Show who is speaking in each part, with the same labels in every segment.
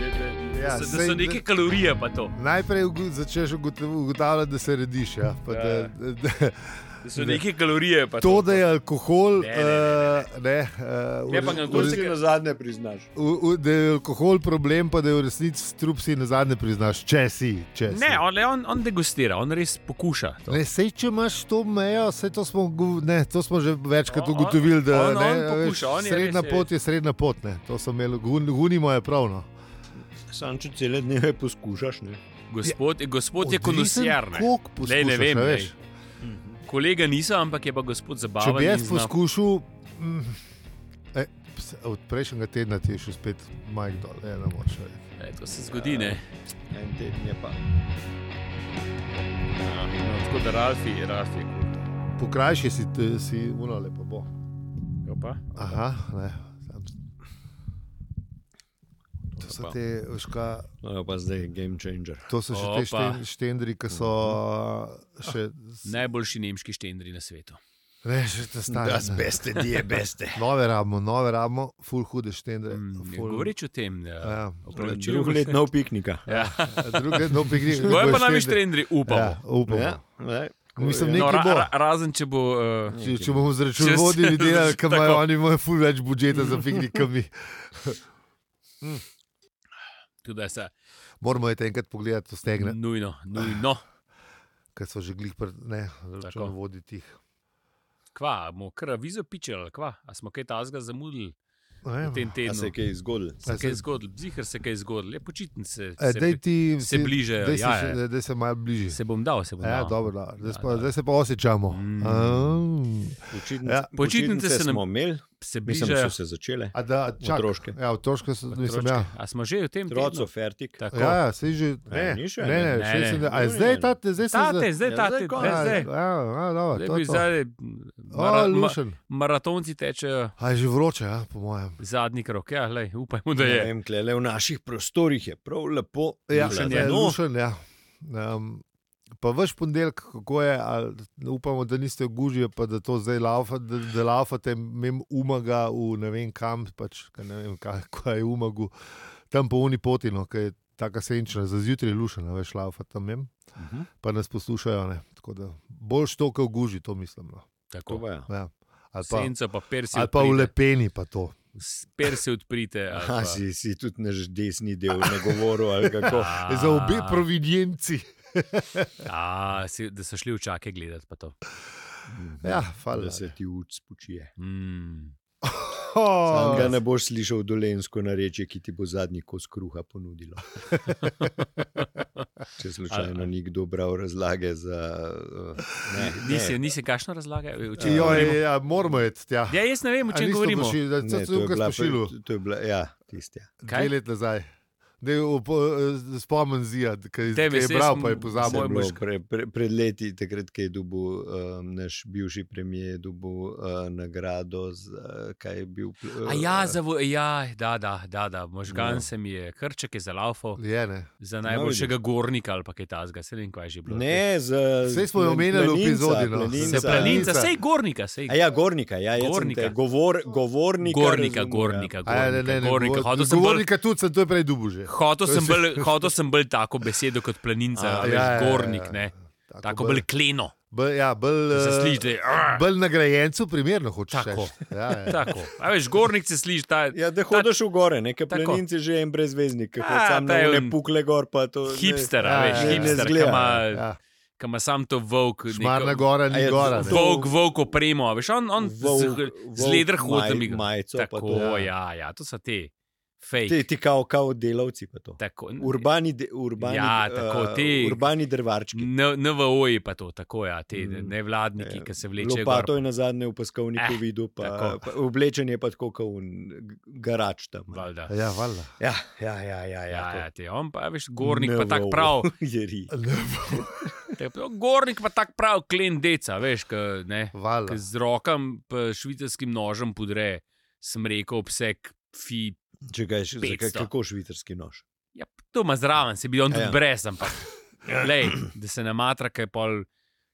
Speaker 1: Ja,
Speaker 2: da, so, da
Speaker 1: sej-
Speaker 2: so neke kalorije pa to.
Speaker 1: Najprej ugo- začneš ugotav- ugotavljati, da se rediš. Ja, pa
Speaker 2: Ja,
Speaker 1: da,
Speaker 2: ja.
Speaker 1: da, da,
Speaker 2: Da so neke kalorije pa
Speaker 1: to,
Speaker 2: to.
Speaker 1: da je alkohol,
Speaker 2: Ne, ne,
Speaker 1: eh,
Speaker 2: ne, ne,
Speaker 1: ne, eh,
Speaker 2: Ne,
Speaker 1: v
Speaker 2: pa
Speaker 1: res-
Speaker 2: ga
Speaker 1: v
Speaker 2: kdo
Speaker 1: res-
Speaker 2: se
Speaker 3: si na zadnje priznaš.
Speaker 1: v- v- da je alkohol problem, pa da je v resnici strup si na zadnje priznaš, če si. Če si.
Speaker 2: Ne, on, le on, on degustira, on res poskuša. to.
Speaker 1: Ne, sej, če imaš to mejo, sej to, smo, ugo- ne, to smo že večkrat
Speaker 2: On- on-
Speaker 1: ugotovili. Da,
Speaker 2: on- on
Speaker 1: ne, a
Speaker 2: pokuša, on je
Speaker 1: srednja
Speaker 2: res, je
Speaker 1: pot je srednja pot. Ne. To so imeli, gun, gunimo je pravno.
Speaker 3: Sam če cele dneve poskušaš. Ne?
Speaker 2: Gospod, gospod je
Speaker 1: Ja. Odvisen,
Speaker 2: konusjer.
Speaker 1: koliko poskušaš,
Speaker 2: ne vem,
Speaker 1: a
Speaker 2: lej.
Speaker 1: veš.
Speaker 2: Kolega niso, ampak je pa gospod
Speaker 1: Če
Speaker 2: zabaven.
Speaker 1: bi jaz
Speaker 2: in zna-
Speaker 1: poskušal, mm, e, ps- od prejšnjega tedna ti je še spet majhen dol, e, ne moreš. verjeti.
Speaker 2: E, to se zgodi, ne.
Speaker 3: En teden je pa.
Speaker 2: Ja, no, tako da Ralfi, Ralfi.
Speaker 1: Pokrajši si, te- si uno lepo bo.
Speaker 2: Ja,
Speaker 1: Aha, ne. sam- To so te, veš, ka,
Speaker 3: No, je pa zdaj game changer.
Speaker 1: to so še te
Speaker 2: Opa.
Speaker 1: šten, štendri, ki so še, s-
Speaker 2: Najboljši nemški štendri na svetu.
Speaker 1: ne, še te stare.
Speaker 3: Da, zbeste, di je beste.
Speaker 1: Nove rabimo, nove rabimo, full hude štendre.
Speaker 2: Mm,
Speaker 1: Ja, ful-
Speaker 2: Govorič o tem,
Speaker 1: Ja.
Speaker 2: da opravičujem.
Speaker 3: Drugo letno piknika.
Speaker 2: Ja.
Speaker 1: Druge, no, piknik.
Speaker 2: Bojo pa
Speaker 1: bojo štendre.
Speaker 2: novi štendri, upamo.
Speaker 1: Ja,
Speaker 2: Ja.
Speaker 1: upamo.
Speaker 3: Ja, ne. Ja,
Speaker 1: Mislim,
Speaker 2: No,
Speaker 1: Nekaj
Speaker 2: ra,
Speaker 1: bo.
Speaker 2: ra, razen če bo. Uh,
Speaker 1: Če, če bomo z
Speaker 2: Če
Speaker 1: računovodji
Speaker 2: se-
Speaker 1: delali, kam imajo
Speaker 2: tako.
Speaker 1: oni, imajo ful več budžeta za piknik, kot mi.
Speaker 2: tudi se,
Speaker 1: Moramo je enkrat pogledati, to stegne,
Speaker 2: nujno, nujno.
Speaker 1: Ah, ker so že glih pred ne, računovodji tih.
Speaker 2: Kva, bomo kar vizo pičali, kva, a smo kaj tazga zamudili
Speaker 1: Ne
Speaker 2: v
Speaker 1: vem.
Speaker 2: tem
Speaker 3: A
Speaker 2: tednu.
Speaker 3: se je kaj zgodilo?
Speaker 2: Se
Speaker 1: A
Speaker 2: kaj
Speaker 1: se-
Speaker 2: zgodil, zihar se kaj zgodil, lepo čitnice.
Speaker 1: E, Daj ti
Speaker 2: se bližajo,
Speaker 1: daj se,
Speaker 2: ja,
Speaker 1: še-
Speaker 2: ja.
Speaker 1: daj se malo bližje.
Speaker 2: Se bom dal, se bom
Speaker 1: Ja,
Speaker 2: dal.
Speaker 1: dobro, dobro. Zdaj,
Speaker 2: Ja,
Speaker 1: pa,
Speaker 2: da.
Speaker 1: zdaj se pa osjećamo.
Speaker 2: Mm.
Speaker 1: Mm.
Speaker 3: Počitnice,
Speaker 1: Ja.
Speaker 3: ja.
Speaker 2: Počitnice
Speaker 3: počitnice
Speaker 2: se nam-
Speaker 3: smo imeli,
Speaker 2: Se
Speaker 3: mislim, da
Speaker 2: bližajo.
Speaker 3: so se začele.
Speaker 1: A da, čak,
Speaker 3: Otroške.
Speaker 1: Ja, otroške so, mislim,
Speaker 2: Otročke.
Speaker 1: ja.
Speaker 2: A smo že v tem
Speaker 3: Troco,
Speaker 2: tednu?
Speaker 3: fertik.
Speaker 2: Tako. E,
Speaker 1: Ja, ja, sej že. Ne,
Speaker 3: Ja, ni še,
Speaker 1: ne, ne,
Speaker 3: ne,
Speaker 1: še
Speaker 2: ne.
Speaker 1: sem, da, a je
Speaker 3: Ne,
Speaker 1: zdaj
Speaker 3: ne.
Speaker 1: ta, zdaj se
Speaker 2: Tate, zdaj
Speaker 3: Ja,
Speaker 2: tate,
Speaker 3: zdaj konec.
Speaker 2: ne, zdaj.
Speaker 1: Ja, ja, dobro,
Speaker 2: Zdaj
Speaker 1: to
Speaker 2: bi
Speaker 1: je to.
Speaker 2: zdaj
Speaker 1: O,
Speaker 2: mara, ma,
Speaker 1: lušen.
Speaker 2: maratonci tečejo
Speaker 1: A je že vroče, ja, po mojem.
Speaker 2: zadnji krok. Ja, lej, upajmo, da
Speaker 3: Ne
Speaker 2: je.
Speaker 3: vem, klele v naših prostorih je prav lepo.
Speaker 1: Ja,
Speaker 2: Lušen
Speaker 1: lušen,
Speaker 2: je.
Speaker 1: je,
Speaker 3: No,
Speaker 1: lušen, ja. um, pa vaš ponedeljek, kako je, ali upamo, da niste gužje, pa da to zdaj laufate, da, da laufate mem umaga v ne vem kam, pač ka ne vem, kaj, kaj je umagu, tam po uni potino, ki je taka senčna, za zjutraj je lušena, veš, laufate tam mem,
Speaker 3: Mhm.
Speaker 1: pa nas poslušajo, ne. Tako da, bolj to, kot guži, to mislim. No.
Speaker 3: to pa
Speaker 2: Tako.
Speaker 3: ja.
Speaker 1: Ja. Ali pa,
Speaker 2: Senca pa persi.
Speaker 1: ali pa v lepeni, pa to.
Speaker 2: Persi odprite. ali
Speaker 3: Aha,
Speaker 2: pa-
Speaker 3: si, si tudi naš desni del na govoru ali kako.
Speaker 2: A,
Speaker 1: Za obe providenci.
Speaker 2: a, si- Da so šli v čake gledati. pa to.
Speaker 1: Ja, hvala.
Speaker 3: Da se ti ud spočije.
Speaker 2: Mm.
Speaker 1: Oh.
Speaker 3: Sam ga ne boš slišal dolensko nareče, ki ti bo zadnji kos kruha ponudilo. Če slučajno ni kdo bral razlage za. uh, Ne,
Speaker 2: Nisi,
Speaker 3: ne.
Speaker 2: nisi kakšno razlaga? O čem govorimo?
Speaker 1: Joj, ja, moramo iti tja.
Speaker 2: Eh, Ja, jaz ne vem, o čem govorimo.
Speaker 1: Da
Speaker 3: Ne,
Speaker 1: se
Speaker 3: to je
Speaker 1: tukaj
Speaker 3: bila pr-
Speaker 1: spošilo.
Speaker 3: To je bila, ja, tiste.
Speaker 2: Kaj?
Speaker 1: Dve let nazaj. Da je spomen zija, eh, ki je
Speaker 2: Tebi
Speaker 1: ki je
Speaker 2: se
Speaker 1: bral,
Speaker 2: jaz
Speaker 1: pa je
Speaker 2: m-
Speaker 1: pozabil.
Speaker 2: moj
Speaker 3: Moj
Speaker 2: mož-
Speaker 3: pre, pre, pred leti, takrat, ko je dobil um, naš bivši premijer, je dobil uh, nagrado za kaj je bil. pl- eh,
Speaker 2: A ja, za, vo- ja, da, da, da, da. možgan
Speaker 3: Ja.
Speaker 2: se mi je, krček je zalaufal
Speaker 1: Je, ne.
Speaker 2: za najboljšega gornika ali pa kaj tasga, se ne vem, kaj je že bilo.
Speaker 3: Ne, za.
Speaker 1: Saj smo jo omenjali v
Speaker 3: planinca,
Speaker 1: epizodi, no.
Speaker 3: planinca.
Speaker 2: se
Speaker 1: za-
Speaker 2: planica, sej gornika, sej
Speaker 3: A ja, gornika, ja, jaz sem
Speaker 2: Gornika.
Speaker 3: te- Govor, govornika.
Speaker 2: gornika,
Speaker 3: razumel,
Speaker 2: gornika,
Speaker 1: A ja, ne, ne,
Speaker 2: gornika,
Speaker 1: ne,
Speaker 2: gornika.
Speaker 1: govor-
Speaker 2: Hotel sem bolj-
Speaker 1: Govornika tudi sem, to je prej dubu že.
Speaker 2: hotel
Speaker 1: To
Speaker 2: sem
Speaker 1: si-
Speaker 2: bolj- Hotel sem bolj tako besedo kot planinca,
Speaker 3: A,
Speaker 2: veš,
Speaker 1: ja, ja, ja,
Speaker 2: gornik,
Speaker 1: ja.
Speaker 2: ne. Tako bolj kleno,
Speaker 1: bolj, ja, bolj,
Speaker 2: da se
Speaker 1: eh,
Speaker 2: sliši, da je. "Arr!"
Speaker 1: bolj nagrajencu, primerno hočeš.
Speaker 2: Tako.
Speaker 1: reči. Ja, ja.
Speaker 2: Tako. A veš, gornik se sliši, da je
Speaker 3: Ja, da hodiš v gore, nekaj
Speaker 2: Tako.
Speaker 3: planinci že en brezveznik, ki
Speaker 2: A,
Speaker 3: hodi sam
Speaker 2: ta je
Speaker 3: na
Speaker 2: on
Speaker 3: ne pukle gor, pa to. ne.
Speaker 2: hipster,
Speaker 1: Ja,
Speaker 2: a veš,
Speaker 1: ja, ja.
Speaker 2: hipster, ki
Speaker 3: Zgleda,
Speaker 2: ima-
Speaker 1: Ja.
Speaker 2: ki ima sam to volk. neko-
Speaker 1: Šmarna gora
Speaker 3: A
Speaker 1: ni
Speaker 3: je
Speaker 1: gora. ne.
Speaker 3: to-
Speaker 2: Volk, volk opremo, a veš, on, on
Speaker 3: Volk-
Speaker 2: z, z
Speaker 3: volk
Speaker 2: leder
Speaker 3: maj-
Speaker 2: hodami. igra.
Speaker 3: majico pa
Speaker 2: Tako,
Speaker 3: to.
Speaker 2: ja, ja, to so te fake.
Speaker 3: Ti, ti kao, kao delavci pa to.
Speaker 2: Tako,
Speaker 3: Urbani, de, urbani,
Speaker 2: Ja, tako,
Speaker 3: eh,
Speaker 2: ti-
Speaker 3: urbani drvarčki.
Speaker 2: N- NVO-ji pa to, tako ja, te
Speaker 3: Mm.
Speaker 2: nevladniki, ki se vlečejo.
Speaker 3: Lopato
Speaker 2: gor.
Speaker 3: je na zadnje v peskovniku
Speaker 2: Eh,
Speaker 3: eh, videl, pa,
Speaker 2: tako.
Speaker 3: pa oblečen je pa tako kot garač tam.
Speaker 2: Valjda.
Speaker 1: Ja, valjda.
Speaker 3: Ja, ja, ja, ja,
Speaker 2: Ja, ja,
Speaker 3: ja,
Speaker 2: te, on pa, veš, gornik pa tak
Speaker 3: NVO.
Speaker 2: prav,
Speaker 3: Jeri.
Speaker 2: te, gornik pa tak prav, klen deca, veš, k, ne,
Speaker 1: Valjda.
Speaker 2: k z rokom, pa švicarskim nožem podre, sem rekel, obseg, fi,
Speaker 3: Če ga je še za kaj-
Speaker 2: 500.
Speaker 3: kako švicarski nož.
Speaker 2: ja, to ima zraven, se bi on tudi
Speaker 3: Ja.
Speaker 2: brez, ampak, lej, da se ne matra, kaj pol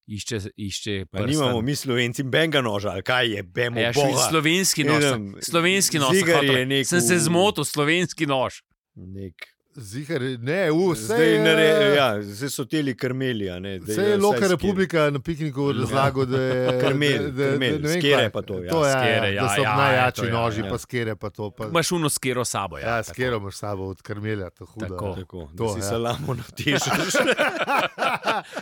Speaker 2: išče, išče
Speaker 3: Pa
Speaker 2: prstan.
Speaker 3: nimamo mi slovenci benga noža, ali kaj je, bemo
Speaker 2: Ja,
Speaker 3: ja,
Speaker 2: še slovenski nož. sem-
Speaker 1: um,
Speaker 3: Idem,
Speaker 2: Slovenski nož. sem
Speaker 3: zigar je
Speaker 2: hotel-
Speaker 3: nek
Speaker 2: Sem se
Speaker 3: v-
Speaker 2: zmotil, slovenski nož.
Speaker 3: Nek
Speaker 1: Zihar, ne, u, eh, vse
Speaker 3: Zdaj,
Speaker 1: je,
Speaker 3: nare, ja, zdaj so teli krmeli. a Ne, Zdaj
Speaker 1: Vse
Speaker 2: eh,
Speaker 3: je
Speaker 1: je
Speaker 3: vsaj
Speaker 1: Loka
Speaker 3: skir.
Speaker 1: Republika na pikniku
Speaker 2: Ja.
Speaker 1: razlagal, da je
Speaker 3: Krmel,
Speaker 1: da- da-
Speaker 3: krmel,
Speaker 1: ne vem,
Speaker 3: skere
Speaker 1: kaj.
Speaker 3: pa to, ja,
Speaker 1: to ja,
Speaker 2: skere,
Speaker 1: ja,
Speaker 2: ja,
Speaker 1: da so
Speaker 2: ja, ja,
Speaker 1: najjači
Speaker 2: to ja,
Speaker 1: noži,
Speaker 3: ja.
Speaker 1: pa skere pa to. Pa,
Speaker 2: Imaš uno skero s sabo. Ja,
Speaker 1: ja, skero imaš s sabo od krmelja, to hudo.
Speaker 2: Tako.
Speaker 1: ja.
Speaker 3: Tako, to
Speaker 1: To,
Speaker 3: si
Speaker 1: ja.
Speaker 3: ja. salamo natišaš.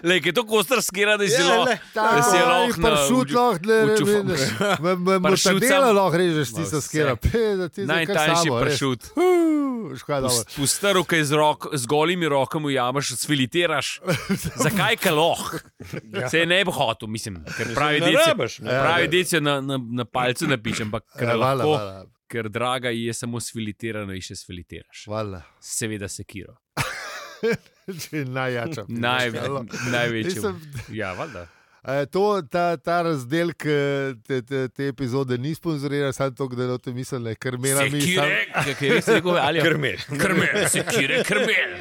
Speaker 2: Le, je to kostar skera, da si
Speaker 3: Ja,
Speaker 2: zelo.
Speaker 3: le,
Speaker 2: da si jo
Speaker 1: Tako,
Speaker 2: lahko na
Speaker 1: pršut
Speaker 2: vdž-
Speaker 1: lahko ne
Speaker 2: včufam.
Speaker 1: rečeš. Mortadela
Speaker 2: Pršut
Speaker 1: lahko režeš,
Speaker 2: Ma,
Speaker 1: tisto
Speaker 2: vse.
Speaker 1: skera. Pe, da ti zdaj kar
Speaker 2: Najtanjši
Speaker 1: samo, res.
Speaker 2: pršut.
Speaker 1: Hu, škoda, dobro.
Speaker 2: Pustrl, ki z, rok, z golimi rokami ujameš, sfilitiraš. Zakaj kaloh?
Speaker 1: Ja.
Speaker 2: Se ne bi hotel, mislim, ker pravi
Speaker 3: Ne
Speaker 2: deci.
Speaker 3: rabiš, ne.
Speaker 2: Pravi deci na, na, na palcu napišem, ampak ker,
Speaker 1: Ja, Hvala,
Speaker 2: lahko,
Speaker 1: hvala,
Speaker 2: ker draga je samo sfilitirano in še sfilitiraš.
Speaker 1: hvala.
Speaker 2: Seveda sekiro.
Speaker 1: Če je Najjača.
Speaker 2: Naj,
Speaker 1: pijača, hvala. Ja,
Speaker 2: največji.
Speaker 1: Nisem-
Speaker 2: Ja, valjda.
Speaker 1: E, To, ta, ta razdelek eh, te, te, te epizode ni sponzoriran, samo to, da ne bi mislili, ker meni je
Speaker 2: Sekire, kako je res rekel, ali je
Speaker 3: Krmel.
Speaker 2: krmel, sekire, krmel.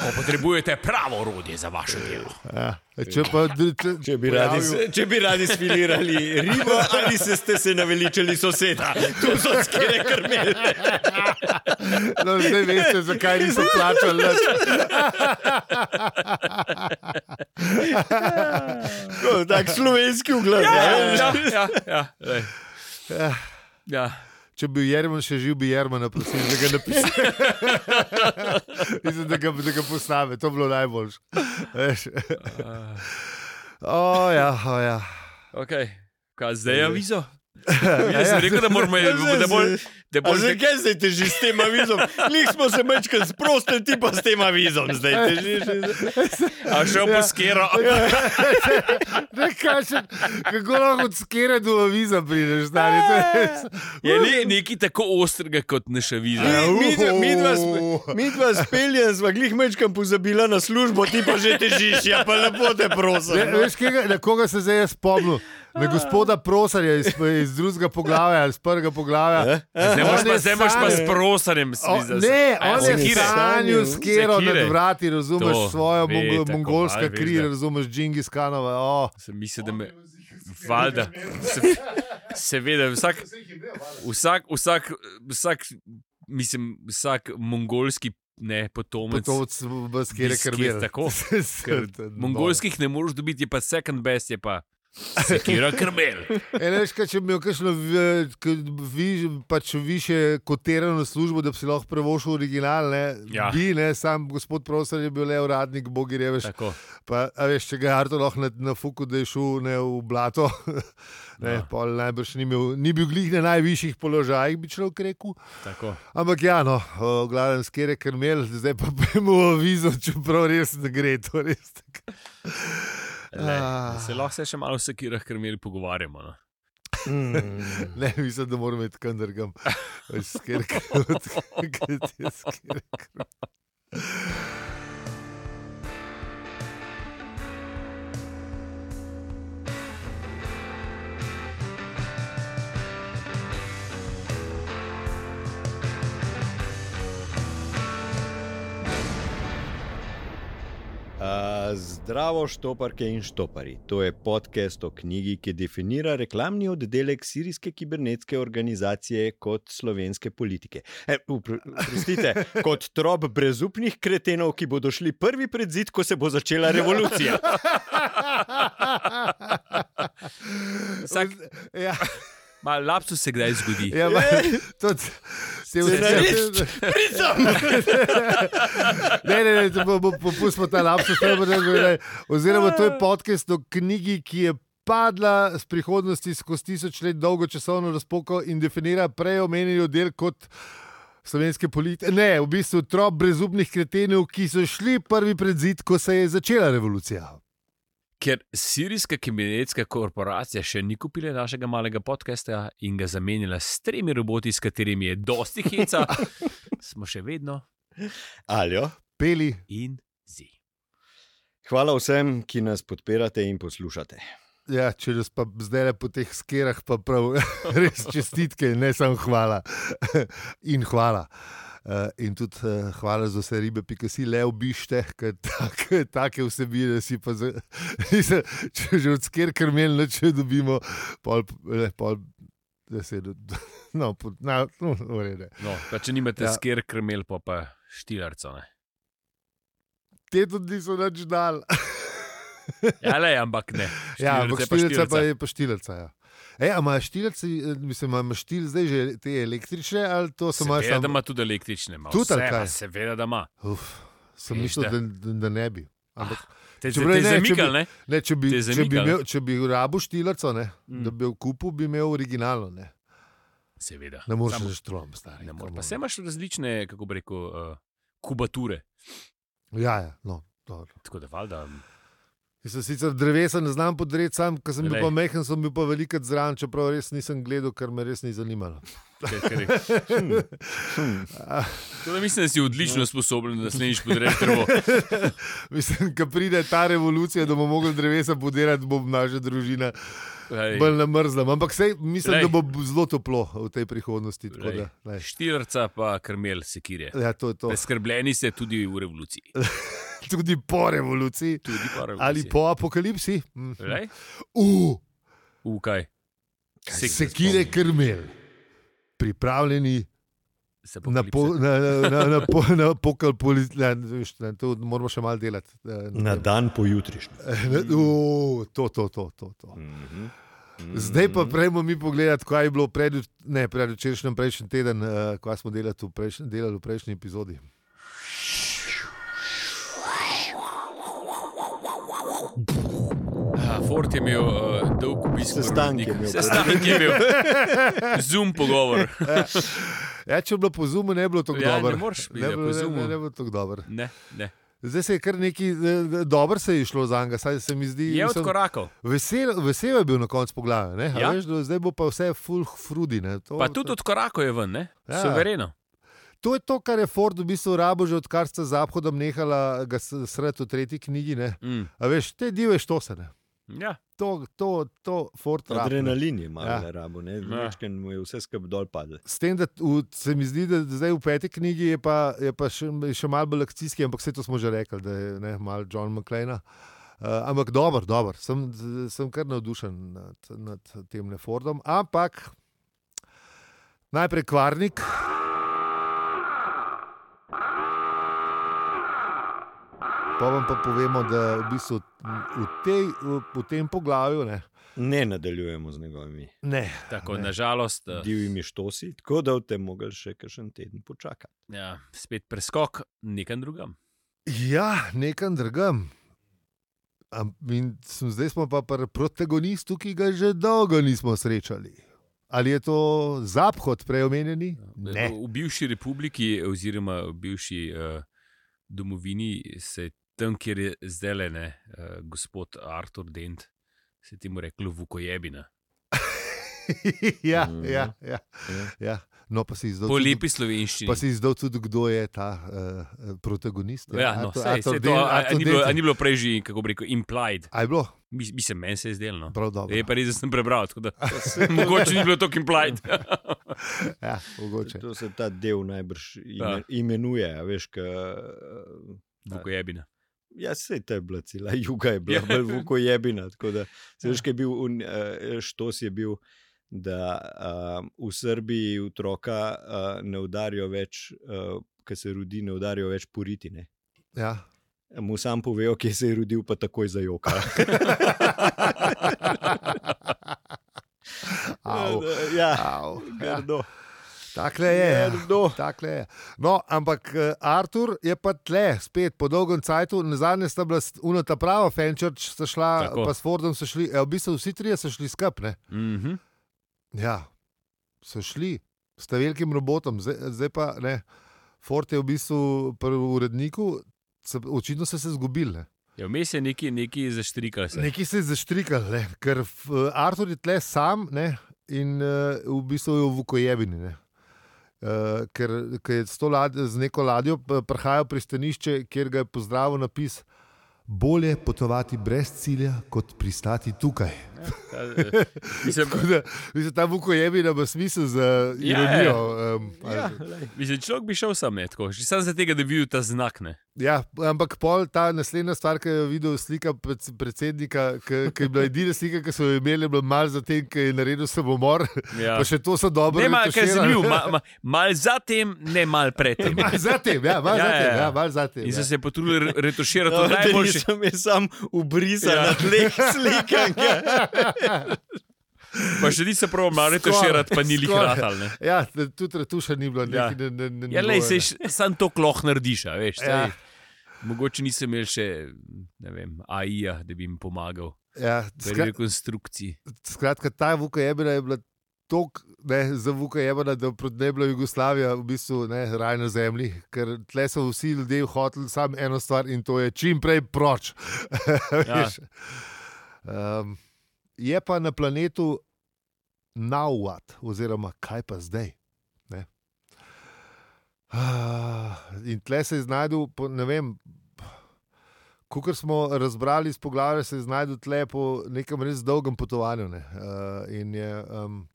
Speaker 2: Ko potrebujete pravo orodje za vaše delo.
Speaker 1: Ja. Če pa d- če,
Speaker 3: Če bi,
Speaker 1: pojavil-
Speaker 3: radi, s- če bi radi sfilirali ribo, ali se ste se naveličali soseda, tu so skere krmel.
Speaker 1: No, zdaj veste, zakaj niso plačali. nič.
Speaker 3: Tak slovenski ugled.
Speaker 1: Eh,
Speaker 3: Ja, ja.
Speaker 2: ja, ja, lej. ja.
Speaker 1: Če bi bil Jerman še živ, bi Jermana prosil, da ga napiše. Mislim, da ga, da ga posname, to bi bilo najboljše. Veš. O, ja, o, ja.
Speaker 2: Okay. Kaj, zdaj je avizo?
Speaker 1: Ja,
Speaker 2: Jaz sem
Speaker 1: ja.
Speaker 2: rekel, da moramo da bolj, da
Speaker 3: A
Speaker 2: bolj tek-
Speaker 3: zakaj zdaj težiš s tem avizom? Lih smo se mečkali sprostili, ti pa s tem avizom zdaj težiš.
Speaker 2: a
Speaker 1: Ja.
Speaker 2: šel po skero.
Speaker 1: Ne, kaj še, kako lahko od skere do aviza prideš, stari, to je res.
Speaker 2: Je ne, nekaj tako ostrega kot naša aviza.
Speaker 1: Ja.
Speaker 3: Mi, mi, dva sp- mi dva speljen sva glih mečkam pozabila na službo, ti pa že težiš, ja pa lepo te
Speaker 1: Ne,
Speaker 3: prosim.
Speaker 1: veš, kaj, na koga se zdaj jaz spomnil? Na gospoda Prosarja iz, iz drugega poglavja ali iz prvega poglavja.
Speaker 2: Zdaj moš
Speaker 1: On
Speaker 2: pa,
Speaker 1: je
Speaker 2: zdaj moš pa s
Speaker 1: sanjal-
Speaker 2: prosanjem. s-
Speaker 1: O,
Speaker 2: Eh? mislim, s-
Speaker 1: ne,
Speaker 2: a ja,
Speaker 1: on je
Speaker 2: sekire.
Speaker 1: sanjal s kero
Speaker 2: Sekire.
Speaker 1: nad vrati, razumeš
Speaker 2: To,
Speaker 1: svojo
Speaker 2: ve,
Speaker 1: mongo,
Speaker 2: tako,
Speaker 1: mongolsko
Speaker 2: ali veš,
Speaker 1: kri,
Speaker 2: da-
Speaker 1: razumeš Džingis Kanova. O,
Speaker 2: Sem mislil, da me. Valjda. Se, seveda, vsak, vsak, vsak, vsak, mislim, vsak mongolski ne, potomec.
Speaker 1: to od skere
Speaker 2: Biskit,
Speaker 1: krmil. no.
Speaker 2: tako. Ker mongolskih ne moreš dobiti, je pa second best, je pa sekira krmel.
Speaker 1: Reš, E, če bi imel kakšno v- k- vi, pač više kotirano službo, da bi si lahko prevošil original, ne,
Speaker 2: Ja.
Speaker 1: bi, ne, sam gospod Prosar je bil le uradnik, bogi reveš.
Speaker 2: Tako.
Speaker 1: Pa, a veš, če ga je Arto lahko na, na fuku, da je šel ne, v blato, ne,
Speaker 2: Ja.
Speaker 1: ja. najbrž ni, imel, ni bil glih na najvišjih položajih, bi človek rekel.
Speaker 2: tako.
Speaker 1: Ampak ja, no, glavno skere krmel, zdaj pa pojmo avizo, čeprav res ne gre. To res tako.
Speaker 2: Le,
Speaker 1: Ah.
Speaker 2: se lahko se še malo o sekirah krmel pogovarjamo. No?
Speaker 1: Ne, mislim, da moram imeti kandrgam. Skere krmel, skere krmel.
Speaker 3: A, Zdravo, štoparke in štopari. To je podcast o knjigi, ki definira reklamni oddelek Sirijske kibernetske organizacije kot slovenske politike. E, upr- Oprostite, kot trop brezupnih kretenov, ki bodo šli prvi pred zid, ko se bo začela revolucija.
Speaker 2: Vsak
Speaker 1: Ja,
Speaker 2: mal lapsus se kdaj zgodi.
Speaker 1: ja, ma, to se
Speaker 3: Scenarist.
Speaker 1: Ne, ne, ne, to bo- bo- popustimo ta lapsus, ne bo tako rekel. Oziroma, to je podcast o knjigi, ki je padla z prihodnosti skozi tisoč let dolgo časovno razpoko in definira prej omenjeni del kot. Slovenske politike, ne, v bistvu trop brezupnih kretenov, ki so šli prvi pred zid, ko se je začela revolucija.
Speaker 2: Ker sirijska kibernetska korporacija še ni kupila našega malega podcasta in ga zamenjala s tremi roboti, s katerimi je dosti heca, smo še vedno
Speaker 3: Aljo.
Speaker 1: Peli,
Speaker 2: in zi.
Speaker 3: Hvala vsem, ki nas podpirate in poslušate.
Speaker 1: ja, če res pa zdaj le po teh skerah, pa prav res čestitke, ne samo hvala. In hvala. Uh, in tudi uh, hvala za vse ribe, ki si le obište, ker take, take vsebine si pa za. Mislim, če že od sker krmel, če dobimo, pol, ne, pol, da se do, no, po- na, no, v redu.
Speaker 2: No, pa če nimate
Speaker 1: Ja.
Speaker 2: ja. sker krmel, pa pa štilarco. Ne.
Speaker 1: Te tudi niso nič dal.
Speaker 2: Ja, le, ampak ne.
Speaker 1: Ja, ampak štirica pa
Speaker 2: je.
Speaker 1: je pa štirica. Ja. E, a imaš štirice, mislim, imaš štiri zdaj že te električne ali to samo
Speaker 2: Seveda,
Speaker 1: imaš?
Speaker 2: da
Speaker 1: Sam...
Speaker 2: ima tudi električne, ima
Speaker 1: Tudi
Speaker 2: vse,
Speaker 1: ali kaj?
Speaker 2: ma, seveda, da ima.
Speaker 1: Uf, sem
Speaker 2: Veš,
Speaker 1: mislil,
Speaker 2: da-
Speaker 1: da, da, da ne bi. Ampak,
Speaker 2: Te, te,
Speaker 1: Čeprav
Speaker 2: te
Speaker 1: ne, če bi-
Speaker 2: zamikal, ne?
Speaker 1: ne, če,
Speaker 2: Ah, Te je
Speaker 1: bi, če, bi
Speaker 2: zamikalo.
Speaker 1: imel, če bi rabo štirico, ne,
Speaker 2: Mm.
Speaker 1: mm. da bi jo kupil, bi imel originalno. Ne,
Speaker 2: Seveda.
Speaker 1: ne moreš
Speaker 2: Samo-
Speaker 1: z štrom, stari.
Speaker 2: Ne more.
Speaker 1: come on.
Speaker 2: Pa se imaš različne, kako bi rekel, uh, kubature.
Speaker 1: Ja, ja, no. dobro.
Speaker 2: Tako da, valjda, hm,
Speaker 1: Jaz sem sicer drevesa ne znam podreti, sam, ko sem bil
Speaker 2: Glej.
Speaker 1: pa mehen, sem bil pa velikrat zraven, čeprav res nisem gledal, ker me res ni zanimalo.
Speaker 2: kaj ti rečem. hm, Tako da mislim, da si
Speaker 1: No.
Speaker 2: odlično sposoben, da naslednjič podreš drevo.
Speaker 1: Mislim, ko pride ta revolucija, da bomo mogli drevesa podirati, bo naša družina
Speaker 2: Glej,
Speaker 1: bolj namrzla. Ampak sej, mislim,
Speaker 2: Glej.
Speaker 1: da bo b- zelo toplo v tej prihodnosti. tako
Speaker 2: Glej.
Speaker 1: Da, glej.
Speaker 2: Štirca pa krmel sekire.
Speaker 1: ja, to je to.
Speaker 2: Preskrbljeni ste tudi v revoluciji.
Speaker 1: Tudi po revoluciji
Speaker 2: Tudi po revoluciji. Ja.
Speaker 1: ali po apokalipsi. Mhm.
Speaker 2: Glej,
Speaker 1: Uh,
Speaker 2: V kaj?
Speaker 1: Sekire krmel. Pripravljeni
Speaker 2: Se
Speaker 1: na, po, na, na, na, na, po, na pokalpolis, na, veš, na, to moramo še malo delati. eh,
Speaker 3: Na
Speaker 1: tem.
Speaker 3: dan pojutrišnji.
Speaker 1: Uh, to, to, to, to, to.
Speaker 2: Mm.
Speaker 3: Mhm.
Speaker 1: Zdaj pa prejmo mi pogledati, kaj je bilo pred, ne, predvčerajšnjem, prejšnji teden, uh, kaj smo delali v, prejšnji, delali v prejšnji epizodi.
Speaker 2: Ja, Ford je imel uh, dolg obisk.
Speaker 3: Sestanek je
Speaker 2: v
Speaker 3: imel.
Speaker 2: Rudniku. Sestanek je imel. Zoom pogovor.
Speaker 1: Ja, če je bilo po zumu, ne bi bilo tako
Speaker 2: Ja, ne
Speaker 1: dobro.
Speaker 2: moreš biti,
Speaker 1: ne,
Speaker 2: ja,
Speaker 1: bi bilo-
Speaker 2: po
Speaker 1: ne,
Speaker 2: Zoomu.
Speaker 1: ne, ne bi bilo tako dobro.
Speaker 2: Ne, ne.
Speaker 1: Zdaj se je kar neki, eh, dobro se je išlo za njega, saj se mi zdi.
Speaker 2: Je
Speaker 1: mislim,
Speaker 2: odkorakal.
Speaker 1: vesel, vesel je bil na koncu poglava, ne? a
Speaker 2: Ja.
Speaker 1: veš, da zdaj bo pa vse full frudi. Ne? To,
Speaker 2: Pa tudi odkorakal je ven, ne?
Speaker 1: Ja.
Speaker 2: Suvereno.
Speaker 1: to je to, kar je Ford v bistvu rabo že odkar sta z Zahodom nehala ga sredi v tretji knjigi. Ne?
Speaker 2: Mm.
Speaker 1: A veš, te dive štosene.
Speaker 2: Ja.
Speaker 1: To, to, to, Ford rabi.
Speaker 3: Adrenalin je malo
Speaker 1: Ja.
Speaker 3: ja. rabo, ne?
Speaker 2: Ja.
Speaker 3: Večkrat mu je vse skupaj dol padlo.
Speaker 1: S tem, da v, se mi zdi, da zdaj v peti knjigi je pa, je pa še, še malo bolj akcijski, ampak vse to smo že rekli, da je ne, malo John McLean. Uh, ampak dober, dober. Sem, sem kar navdušen nad, nad tem Fordom. Ampak najprej kvarnik. Pa vam pa povemo, da v, bistvu v, tej, v, v tem poglavju ne.
Speaker 3: Ne nadaljujemo z njegovimi
Speaker 1: ne.
Speaker 2: Tako,
Speaker 1: Ne.
Speaker 2: nažalost, eh,
Speaker 3: divjimi štosi, tako da boste mogli še kakšen teden počakati.
Speaker 2: ja, spet preskok nekam drugam.
Speaker 1: Ja, nekam drugam. Am- in sem- Zdaj smo pa pri protagonistu, ki ga že dolgo nismo srečali. Ali je to zaphod,
Speaker 2: Ja,
Speaker 1: preomenjeni? Ne.
Speaker 2: V bivši republiki, oziroma v bivši uh, domovini, se je tam, kjer je zdaj le uh, gospod Artur Dent, se je temu reklo Vukojebina.
Speaker 1: ja,
Speaker 2: Mhm.
Speaker 1: ja, ja, ja. No, pa si izdal.
Speaker 2: Po
Speaker 1: tudi-
Speaker 2: lepi slovenščini.
Speaker 1: Pa si izdal tudi, kdo je ta uh, protagonist.
Speaker 2: Ja, no,
Speaker 1: Artur-
Speaker 2: sej,
Speaker 1: Artur
Speaker 2: sej to,
Speaker 1: Den-
Speaker 2: a, a,
Speaker 1: Artur
Speaker 2: ni bilo, a
Speaker 1: Denton.
Speaker 2: ni bilo prej že, kako bi rekel, implied.
Speaker 1: A je bilo?
Speaker 2: Mi- Mislim, meni se je zdelo. no.
Speaker 1: Prav dobro.
Speaker 2: Je pa res, da sem prebral. tako Da, mogoče ni bilo tako implied.
Speaker 1: Ja, mogoče.
Speaker 3: To se ta del najbrž
Speaker 2: Ja.
Speaker 3: ime, imenuje, a veš, ka,
Speaker 2: Vukojebina.
Speaker 3: Ja, sej ta je bila cela juga, je bila
Speaker 2: Ja.
Speaker 3: bolj vukojebina. tako da, saj Veš, kaj je bil, un, eh, štos je bil, da um, v Srbiji otroka uh, ne udarijo več, uh, ki se rodi, ne udarijo več poriti. Ne?
Speaker 1: Ja.
Speaker 3: Mu sam povejo, kje se je rodil, pa takoj zajoka.
Speaker 1: Au,
Speaker 3: ja,
Speaker 1: au. Ja,
Speaker 3: grdo.
Speaker 1: takle je. ja.
Speaker 3: Grdo.
Speaker 1: Takle je. No, ampak eh, Artur je pa tle, spet po dolgem času, na zadnje sta bila uno ta prava, Fenčerč sta šla,
Speaker 2: Tako.
Speaker 1: Tako. pa s Fordom so šli, e, v bistvu vsi trije so šli skupaj.
Speaker 2: Mhm.
Speaker 1: Ja, so šli s ta velikim robotom, zdaj, zdaj pa ne. Ford je v bistvu pri uredniku, se, očitno so se zgubili. ne.
Speaker 2: Ja, Vmes je neki, neki zaštrikal. se.
Speaker 1: Nekaj se je zaštrikal, ne, ker f- Artur je tle sam ne, in uh, v bistvu je v Vukojevini. Ne. Uh, ker, eh, ker je s, to lad, z neko ladjo p- prihajal v pristanišče, kjer ga je pozdravil napis Bolje potovati brez cilja, kot pristati tukaj.
Speaker 2: Ta, eh, Mislim,
Speaker 1: Tako da, mislim, ta vuko je bil, da ima smisel za
Speaker 2: Ja,
Speaker 1: ironijo. Ja,
Speaker 3: Ja,
Speaker 1: ja.
Speaker 3: lej.
Speaker 2: mislim, človek bi šel sam, ne tako. Že Sam zato, da bi videl ta znak. Ne.
Speaker 1: Ja, ampak pol ta naslednja stvar, ki jo je videl, slika preds- predsednika, ki ki je bila edina slika, ki so jo imeli, je bila malo zatem, ki je naredil samomor.
Speaker 2: Ja.
Speaker 1: Pa še to so dobro.
Speaker 2: Ne, malo je
Speaker 1: retuširali.
Speaker 2: zanimiv, ma, ma, mal zatem, ne mal predtem.
Speaker 1: Malo zatem, ja, malo
Speaker 2: Ja, ja,
Speaker 1: zatem,
Speaker 2: ja.
Speaker 1: ja, malo zatem.
Speaker 2: In
Speaker 1: Ja.
Speaker 2: so se potrudili re- retuširati
Speaker 3: No,
Speaker 2: to
Speaker 3: da
Speaker 2: najboljše.
Speaker 3: nisem jaz sam ubrisal
Speaker 2: Ja.
Speaker 3: ja. na tleh slikanke.
Speaker 2: Pa še nisem prav malo
Speaker 1: Skoraj,
Speaker 2: retuširati, pa ni lih
Speaker 1: skoraj.
Speaker 2: ratal. ne.
Speaker 1: Ja, t- tudi retuša ni bilo,
Speaker 2: Ja.
Speaker 1: nekaj, ne, ne, ne,
Speaker 2: Ja, lej, sej, sam to kloh narediš, a veš.
Speaker 1: Ja.
Speaker 2: Ja. Mogoče nisem imel še ne vem, AI-ja, da bi jim pomagal
Speaker 1: ja,
Speaker 2: pri
Speaker 1: skra,
Speaker 2: rekonstrukciji.
Speaker 1: skratka, ta Vuka Jebena je bila tako za Vuka Jebena, da pro- ne je bila Jugoslavija v bistvu ne, raj na zemlji, ker tle so vsi ljudje hoteli samo eno stvar in to je čim prej proč.
Speaker 2: Ja.
Speaker 1: Veš. um, je pa na planetu nauvat, oziroma kaj pa zdaj. ne. Ah, In tle se je znašel, ne vem, kot smo razbrali iz poglavja, se je znašel tle po nekem res dolgem potovanju. Ne? Uh, in je, um,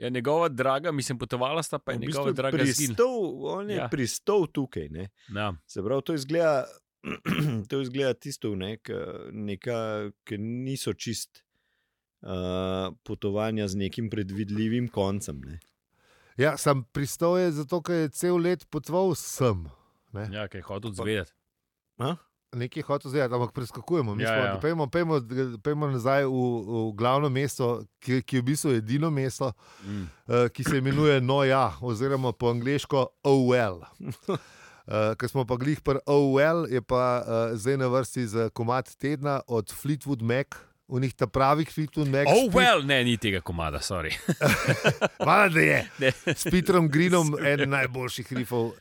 Speaker 2: Ja, njegova draga, mislim, potovala sta pa je njegova draga zgin.
Speaker 3: pristal, on je
Speaker 2: Ja.
Speaker 3: ja. pristal tukaj. Ne?
Speaker 2: Ja.
Speaker 3: Se pravi, to izgleda, to izgleda tisto, ne, k, neka, ki niso čist uh, potovanja z nekim predvidljivim koncem. Ne.
Speaker 1: ja, sam pristal je zato, ker je cel let potoval sem.
Speaker 2: ja, kaj je hotel zvedeti.
Speaker 3: A?
Speaker 1: Nekaj hotel zdaj, ampak preskakujemo. Mi
Speaker 2: Ja,
Speaker 1: smo,
Speaker 2: ja.
Speaker 1: Pejmo, pejmo, pejmo nazaj v, v glavno mesto, ki, ki je v bistvu edino mesto,
Speaker 2: Mm.
Speaker 1: eh, ki se imenuje Noja, oziroma po angliško OL. Uh, Ker smo pa glih pri OL, je pa uh, zdaj na vrsti za komat tedna od Fleetwood Mac, v njih ta pravih Fleetwood Mac.
Speaker 2: Oh, well, ne, ni tega komada, sorry.
Speaker 1: Hvala, da je.
Speaker 2: Ne.
Speaker 1: S Peterom Greenom, eden najboljših rifov.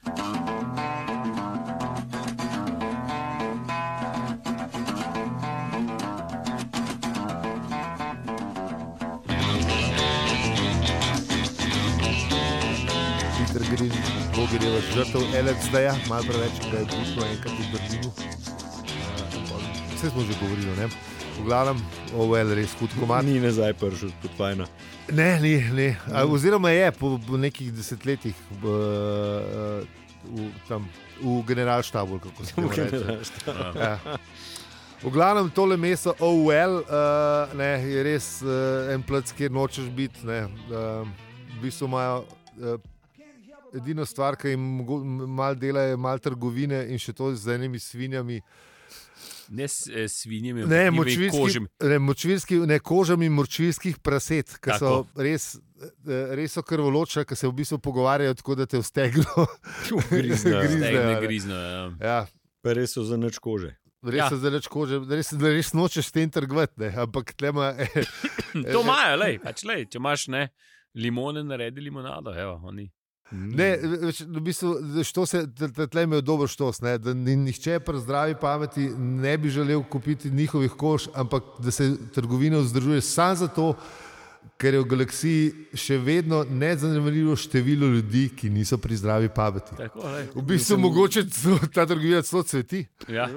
Speaker 1: Peter Green, Bog je del žrtev, Alex Deja, malo preveč, kaj je pustilo enkrat v Berlinu. Vse smo že govorili, ne? V glavnem, ovo je res hud komat.
Speaker 3: Ni nazaj prišel, kot fajn.
Speaker 1: Ne, ni, ne. A, oziroma je po po nekih desetletjih b, v, tam, v generalštabu, ali kako se temu reče. Ja. V glavnem tole mesto OL uh, ne, je res uh, en plac, kjer nočeš biti. ne. Uh, v bistvu imajo uh, edino stvar, ki jim mogo- m- malo dela, je malo trgovine in še to z enimi svinjami.
Speaker 2: Ne s eh, svinjami,
Speaker 1: Ne,
Speaker 2: močvirski
Speaker 1: močvirski,
Speaker 2: kožem.
Speaker 1: ne, močvirski, ne kožami močvirskih praset, ki so res, eh, res so krvoloča, ki se v bistvu pogovarjajo tako, da te vstegno. Griznejo.
Speaker 2: Ne,
Speaker 1: Griznejo,
Speaker 2: ne
Speaker 1: ne.
Speaker 2: grizno. Ja.
Speaker 1: Ja,
Speaker 3: Res so za nič kože.
Speaker 1: res
Speaker 2: Ja.
Speaker 1: ja. zdaj kože, res, da res nočeš s tem trgovati, ne, ampak tlema, eh,
Speaker 2: To imajo, lej, pač, lej, če imaš ne, limone, naredi limonado. Evo, oni.
Speaker 1: ne, več, v bistvu, što se, tlema je dober štos, ne, da ni, nihče pri zdravi pameti ne bi želel kupiti njihovih kož, ampak da se trgovina vzdržuje samo zato, ker je v galaksiji še vedno nezanemarljivo število ljudi, ki niso pri zdravi pameti.
Speaker 2: Tako, lej.
Speaker 1: V bistvu mogoče celo- ta trgovina celo cveti.
Speaker 2: ja.